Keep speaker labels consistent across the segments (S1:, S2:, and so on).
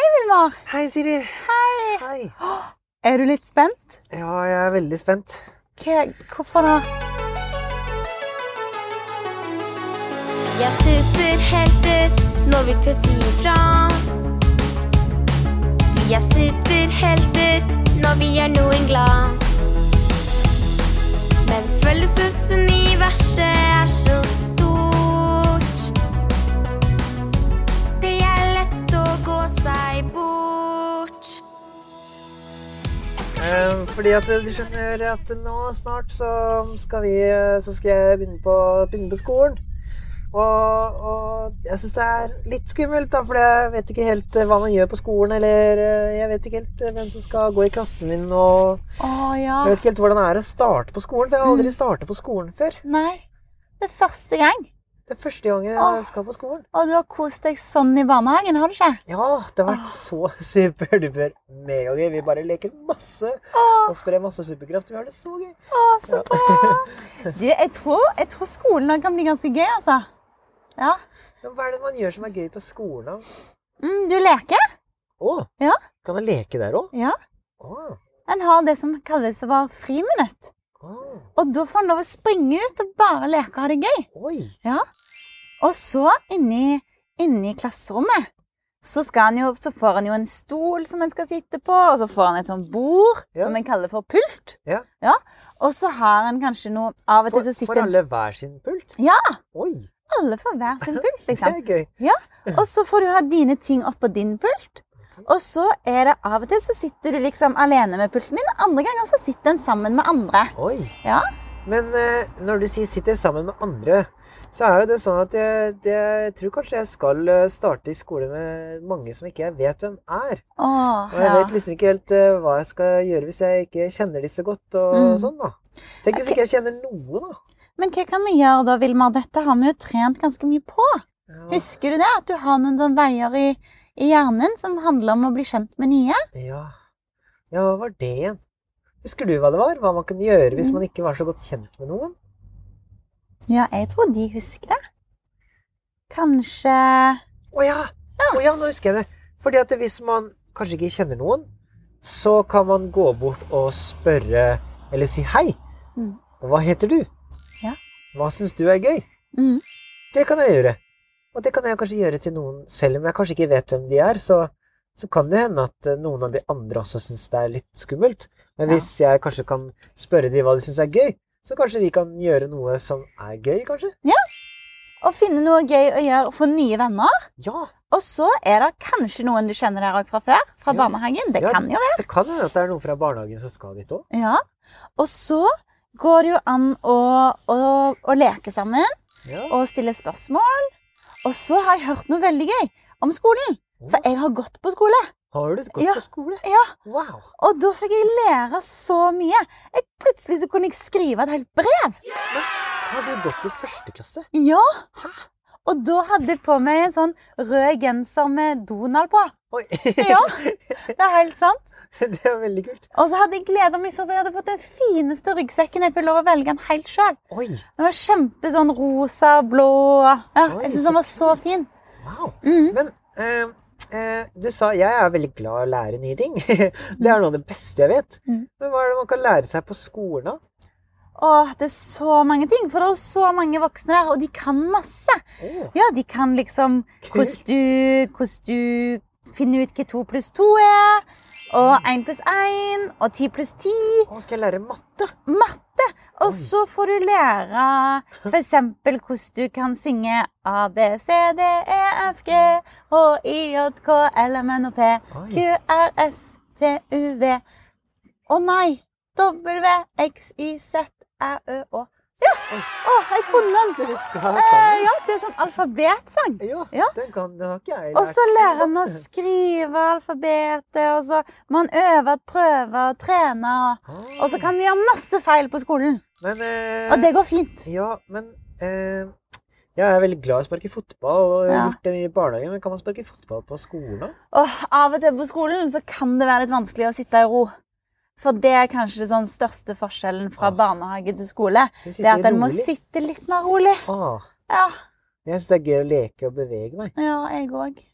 S1: Ivar!
S2: Hei, Siri.
S1: Hei!
S2: Hei.
S1: Er du litt spent?
S2: Ja, jeg er veldig spent.
S1: Hva, hvorfor det?
S3: Vi er superhelter når vi tør si ifra. Vi er superhelter når vi gjør noen glad. Men følelsesuniverset er så stort. Det er lett å gå seg bort.
S2: Eh, Fordi at eh, du skjønner at nå snart så skal vi eh, Så skal jeg begynne på, begynne på skolen. Og, og jeg syns det er litt skummelt, da, for jeg vet ikke helt eh, hva man gjør på skolen, eller eh, jeg vet ikke helt eh, hvem som skal gå i klassen min, og
S1: Å ja.
S2: jeg vet ikke helt hvordan det er å starte på skolen, for jeg har aldri startet på skolen før.
S1: Nei. Det er første gang.
S2: Det er første gangen
S1: Åh.
S2: jeg skal på skolen.
S1: Og du har kost deg sånn i barnehagen, har du ikke?
S2: Ja, det har vært så superduper megagøy. Vi bare leker masse og sprer masse superkraft. Vi har det så gøy.
S1: Å, så bra! Du, jeg tror, jeg tror skolen nå kan bli ganske gøy, altså. Ja.
S2: Men hva er det man gjør som er gøy på skolen? da?
S1: Mm, du leker?
S2: Å,
S1: Ja.
S2: kan man leke der òg?
S1: Ja.
S2: Å,
S1: En har det som kalles for friminutt.
S2: å,
S1: Og da får en lov å springe ut og bare leke og ha det gøy.
S2: oi.
S1: Og så inni, inni klasserommet så, skal han jo, så får han jo en stol som han skal sitte på, og så får han et sånt bord
S2: Ja.
S1: som en kaller for pult.
S2: Ja.
S1: Og så har han kanskje noe Av og til
S2: For,
S1: så
S2: for
S1: sitter alle,
S2: alle hver sin pult?
S1: Ja.
S2: Oi,
S1: alle får hver sin pult,
S2: det
S1: liksom.
S2: er gøy.
S1: Og så får du ha dine ting oppå din pult. Og så er det av og til så sitter du liksom alene med pulten din, og andre ganger så sitter en sammen med andre.
S2: Oi.
S1: Ja.
S2: Men eh, når du sier 'sitter sammen med andre', så er jo det sånn at jeg, det, jeg tror kanskje jeg skal eh, starte i skole med mange som ikke jeg vet hvem er.
S1: Åh,
S2: Og jeg
S1: ja.
S2: vet liksom ikke helt eh, hva jeg skal gjøre hvis jeg ikke kjenner de så godt og
S1: Mm.
S2: sånn, da. Tenk hvis
S1: Ok.
S2: ikke jeg kjenner noe, da.
S1: Men hva kan vi gjøre da, Vilmar? Dette har vi jo trent ganske mye på.
S2: Ja.
S1: Husker du det? At du har noen sånne veier i, i hjernen som handler om å bli kjent med nye?
S2: ja. Ja, hva var det igjen? Husker du hva det var? Hva man kunne gjøre hvis
S1: Mm.
S2: man ikke var så godt kjent med noen?
S1: Ja, jeg tror de husker det. Kanskje
S2: Å ja! Å ja, nå husker jeg det. Fordi at hvis man kanskje ikke kjenner noen, så kan man gå bort og spørre eller si hei.
S1: Mm.
S2: Hva heter du?
S1: Ja.
S2: Hva syns du er gøy?
S1: mm,
S2: Det kan jeg gjøre. Og det kan jeg kanskje gjøre til noen, selv om jeg kanskje ikke vet hvem de er, så, så kan det hende at eh, noen av de andre også syns det er litt skummelt. Men
S1: Ja.
S2: hvis jeg kanskje kan spørre de hva de syns er gøy, så kanskje vi kan gjøre noe som er gøy, kanskje?
S1: Å finne noe gøy å gjøre for nye venner.
S2: Ja,
S1: Og så er det kanskje noen du kjenner der òg fra før. Fra
S2: Ja.
S1: barnehagen. Det
S2: Ja.
S1: kan jo være.
S2: det kan hende at det er noen fra barnehagen som skal dit òg.
S1: Ja. Og så går det jo an å, å, å leke sammen
S2: Ja.
S1: og stille spørsmål. Og så har jeg hørt noe veldig gøy om skolen. For jeg har gått på skole.
S2: Har du gått
S1: Ja.
S2: på skole?
S1: Ja.
S2: Wow.
S1: Og da fikk jeg lære så mye. Jeg, plutselig så kunne jeg skrive et helt brev.
S2: Har du gått i første klasse?
S1: Ja. Og da hadde jeg på meg en sånn rød genser med Donald på.
S2: Oi,
S1: Ja, det er helt sant.
S2: det er veldig kult.
S1: Og så hadde jeg gleda meg så for jeg hadde fått den fineste ryggsekken. Jeg fikk lov å velge den helt sjøl.
S2: Oi,
S1: Den var kjempe sånn rosa, blå Ja,
S2: Oi,
S1: jeg syns
S2: så
S1: den var så fin.
S2: wow.
S1: Mhm.
S2: Men eh, eh, du sa jeg er veldig glad i å lære nye ting. det er noe av det beste jeg vet.
S1: Mm.
S2: Men hva er det man kan lære seg på skolen, da?
S1: Åh, det er så mange ting. For det er så mange voksne der, og de kan masse.
S2: Å,
S1: Ja, de kan liksom hvordan du, hvordan du finner ut hva to pluss to er, og én pluss én, og ti pluss ti.
S2: å, skal jeg lære matte?
S1: Matte. Og
S2: Oi.
S1: så får du lære f.eks. hvordan du kan synge A, B, C, D, E, F, G, H, I, J, K, L, M, N, O, P, Q,
S2: Oi.
S1: R, S, T, U, V. Å nei! W, X, Y, Z, Æ, Ø, Å. Ja!
S2: Oi.
S1: Å, jeg kunne den!
S2: Du skal ha
S1: Eh,
S2: sang?
S1: ja, det er sånn alfabetsang.
S2: Ja,
S1: Ja.
S2: den, kan, den har ikke jeg lært.
S1: Og så lærer han å skrive alfabetet, og så må han øve, prøve og trene. og- Og så kan vi gjøre masse feil på skolen.
S2: Ah. Men, eh,
S1: Og det går fint.
S2: Ja, men eh, jeg er veldig glad i å sparke fotball, og jeg har
S1: Ja.
S2: gjort det mye i barnehagen, men kan man sparke fotball på skolen? da?
S1: Og av og til på skolen så kan det være litt vanskelig å sitte i ro. For det er kanskje den største forskjellen fra
S2: Ja.
S1: barnehage til skole.
S2: Skal jeg
S1: Det er at
S2: sitte
S1: en må
S2: rolig?
S1: sitte litt mer rolig.
S2: Ah,
S1: Ja,
S2: jeg syns det er gøy å leke og bevege meg.
S1: ja jeg òg.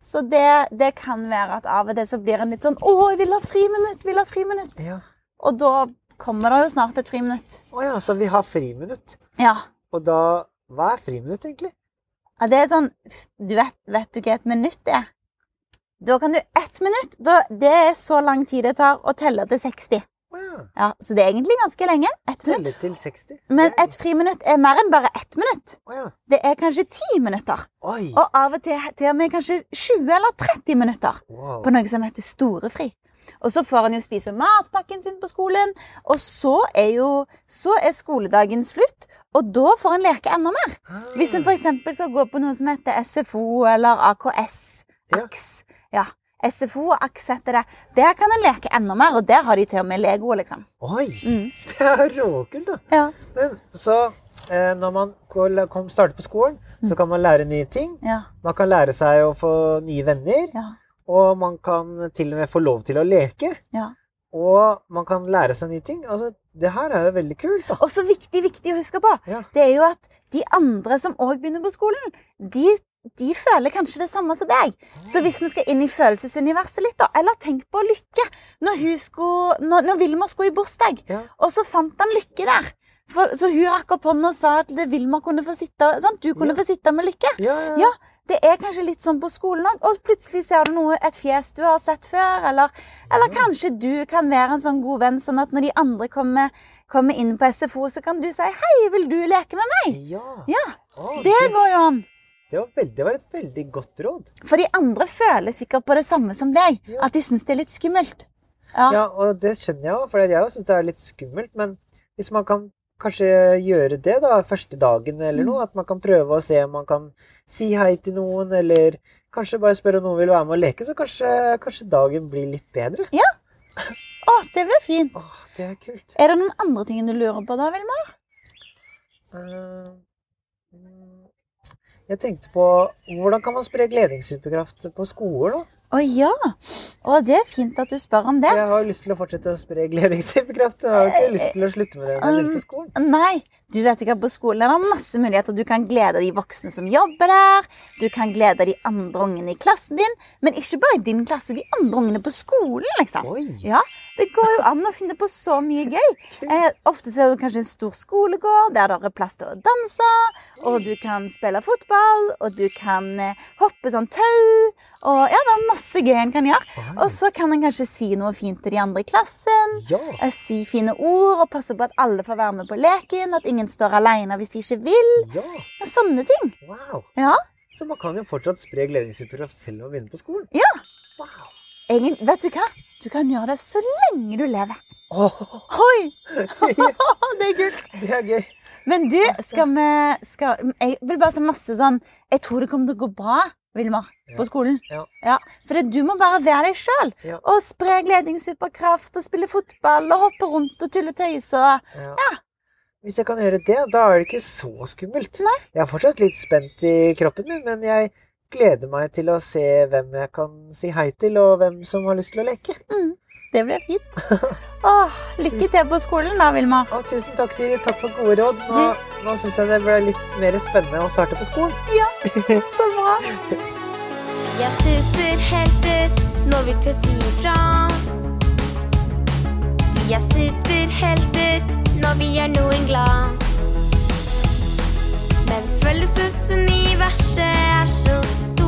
S1: Så det, det kan være at av og til så blir en litt sånn Å, jeg vil ha friminutt! Vil ha friminutt!
S2: Ja.
S1: Og da kommer det jo snart et friminutt.
S2: Å ja, så vi har friminutt.
S1: Ja.
S2: Og da Hva er friminutt, egentlig?
S1: Ja, det er sånn Du vet, vet du hva et minutt er? Da kan du Ett minutt! Da, det er så lang tid det tar å telle til 60.
S2: Å ja.
S1: Ja, Så det er egentlig ganske lenge. Ett minutt.
S2: Telle til 60.
S1: Men et friminutt er mer enn bare ett minutt.
S2: Å ja.
S1: Det er kanskje ti minutter.
S2: Oi.
S1: Og av og til til og med kanskje 20 eller 30 minutter
S2: Wow.
S1: på noe som heter storefri. Og så får han jo spise matpakken sin på skolen, og så er jo så er skoledagen slutt, og da får han leke enda mer.
S2: Ah.
S1: Hvis en f.eks. skal gå på noe som heter SFO eller AKS,
S2: Ja.
S1: AKS ja. SFO og AKS heter det. Der kan en leke enda mer, og der har de til og med Lego, liksom.
S2: Oi!
S1: Mm.
S2: Det er råkult, da.
S1: Ja.
S2: Men så eh, når man går- kom- starter på skolen,
S1: Mm.
S2: så kan man lære nye ting.
S1: Ja.
S2: Man kan lære seg å få nye venner,
S1: Ja.
S2: og man kan til og med få lov til å leke.
S1: ja.
S2: Og man kan lære seg nye ting. Altså, det her er jo veldig kult, da.
S1: Og så viktig, viktig å huske på,
S2: Ja.
S1: det er jo at de andre som òg begynner på skolen, de, de føler kanskje det samme som deg. Så hvis vi skal inn i følelsesuniverset litt, da, eller tenk på Lykke. Når, hun skulle, når, når Wilmer skulle i bursdag,
S2: Ja.
S1: og så fant han Lykke der. For, så hun rakk opp hånda og sa at Wilmer kunne få sitte sant? Du kunne
S2: Ja.
S1: få sitte med Lykke.
S2: Ja, ja.
S1: Ja, det er kanskje litt sånn på skolen òg, og plutselig ser du noe, et fjes du har sett før, eller, eller kanskje du kan være en sånn god venn, sånn at når de andre kommer, kommer inn på SFO, så kan du si 'Hei, vil du leke med meg?'
S2: ja.
S1: Ja,
S2: Å,
S1: det går jo an.
S2: det, var veldig, det var et veldig godt råd.
S1: For de andre føler sikkert på det samme som deg,
S2: Ja.
S1: at de syns det er litt skummelt.
S2: Ja,
S1: Ja.
S2: og det skjønner jeg òg, for jeg òg syns det er litt skummelt. Men hvis man kan kanskje gjøre det da, første dagen eller noe,
S1: Mm.
S2: at man kan prøve å se om man kan si hei til noen, eller kanskje bare spørre om noen vil være med og leke, så kanskje, kanskje dagen blir litt bedre.
S1: Å, det blir fint.
S2: Åh, det er kult.
S1: Er det noen andre ting du lurer på da, Vilma?
S2: Eh, mm, Jeg tenkte på hvordan kan man spre gledingshyperkraft på skolen? da?
S1: Å ja. Å, det er fint at du spør om det.
S2: Jeg har lyst til å fortsette å spre gledingshyperkraft. Jeg har ikke lyst til å slutte med det
S1: Um,
S2: når jeg begynner på skolen.
S1: Nei, du vet ikke at på skolen er det masse muligheter. Du kan glede de voksne som jobber der, du kan glede de andre ungene i klassen din, men ikke bare i din klasse, de andre ungene på skolen, liksom.
S2: Oi!
S1: Ja, det går jo an å finne på så mye gøy. Eh, ofte så er det kanskje en stor skolegård der det er plass til å danse, og du kan spille fotball, og du kan eh, hoppe sånn tau, og ja, det er masse gøy en kan gjøre.
S2: Mm.
S1: Og så kan en kanskje si noe fint til de andre i klassen.
S2: Ja!
S1: Eh, Si fine ord og passe på at alle får være med på leken. At ingen står alene hvis de ikke vil.
S2: Ja!
S1: Og sånne ting.
S2: Wow!
S1: Ja,
S2: Så man kan jo fortsatt spre gledingshyperkraft selv om man begynner på skolen?
S1: Ja.
S2: Wow!
S1: egentlig, Vet du hva? Du kan gjøre det så lenge du lever.
S2: Åh,
S1: Oi!
S2: yes,
S1: Det er kult.
S2: det er gøy.
S1: Men du, skal vi skal, Jeg vil bare si masse sånn Jeg tror det kommer til å gå bra, Vilmar,
S2: Ja.
S1: på skolen.
S2: Ja.
S1: For du må bare være deg sjøl.
S2: Ja.
S1: Og spre gledingsuperkraft, og spille fotball, og hoppe rundt og tulle og tøyse. og-
S2: Ja. Hvis jeg kan gjøre det, da er det ikke så skummelt. Jeg er fortsatt litt spent i kroppen min, men jeg gleder meg til å se hvem jeg kan si hei til, og hvem som har lyst til å leke.
S1: Det blir fint. Åh, lykke til på skolen, da, Vilmar.
S2: Å, tusen takk, Siri. Takk for gode råd. Nå, nå syns jeg det ble litt mer spennende å starte på skolen.
S1: Så bra.
S3: Vi er superhelter når vi tør si ifra. Vi er superhelter når vi gjør noen glad. Men følelsesuniverset er så stort.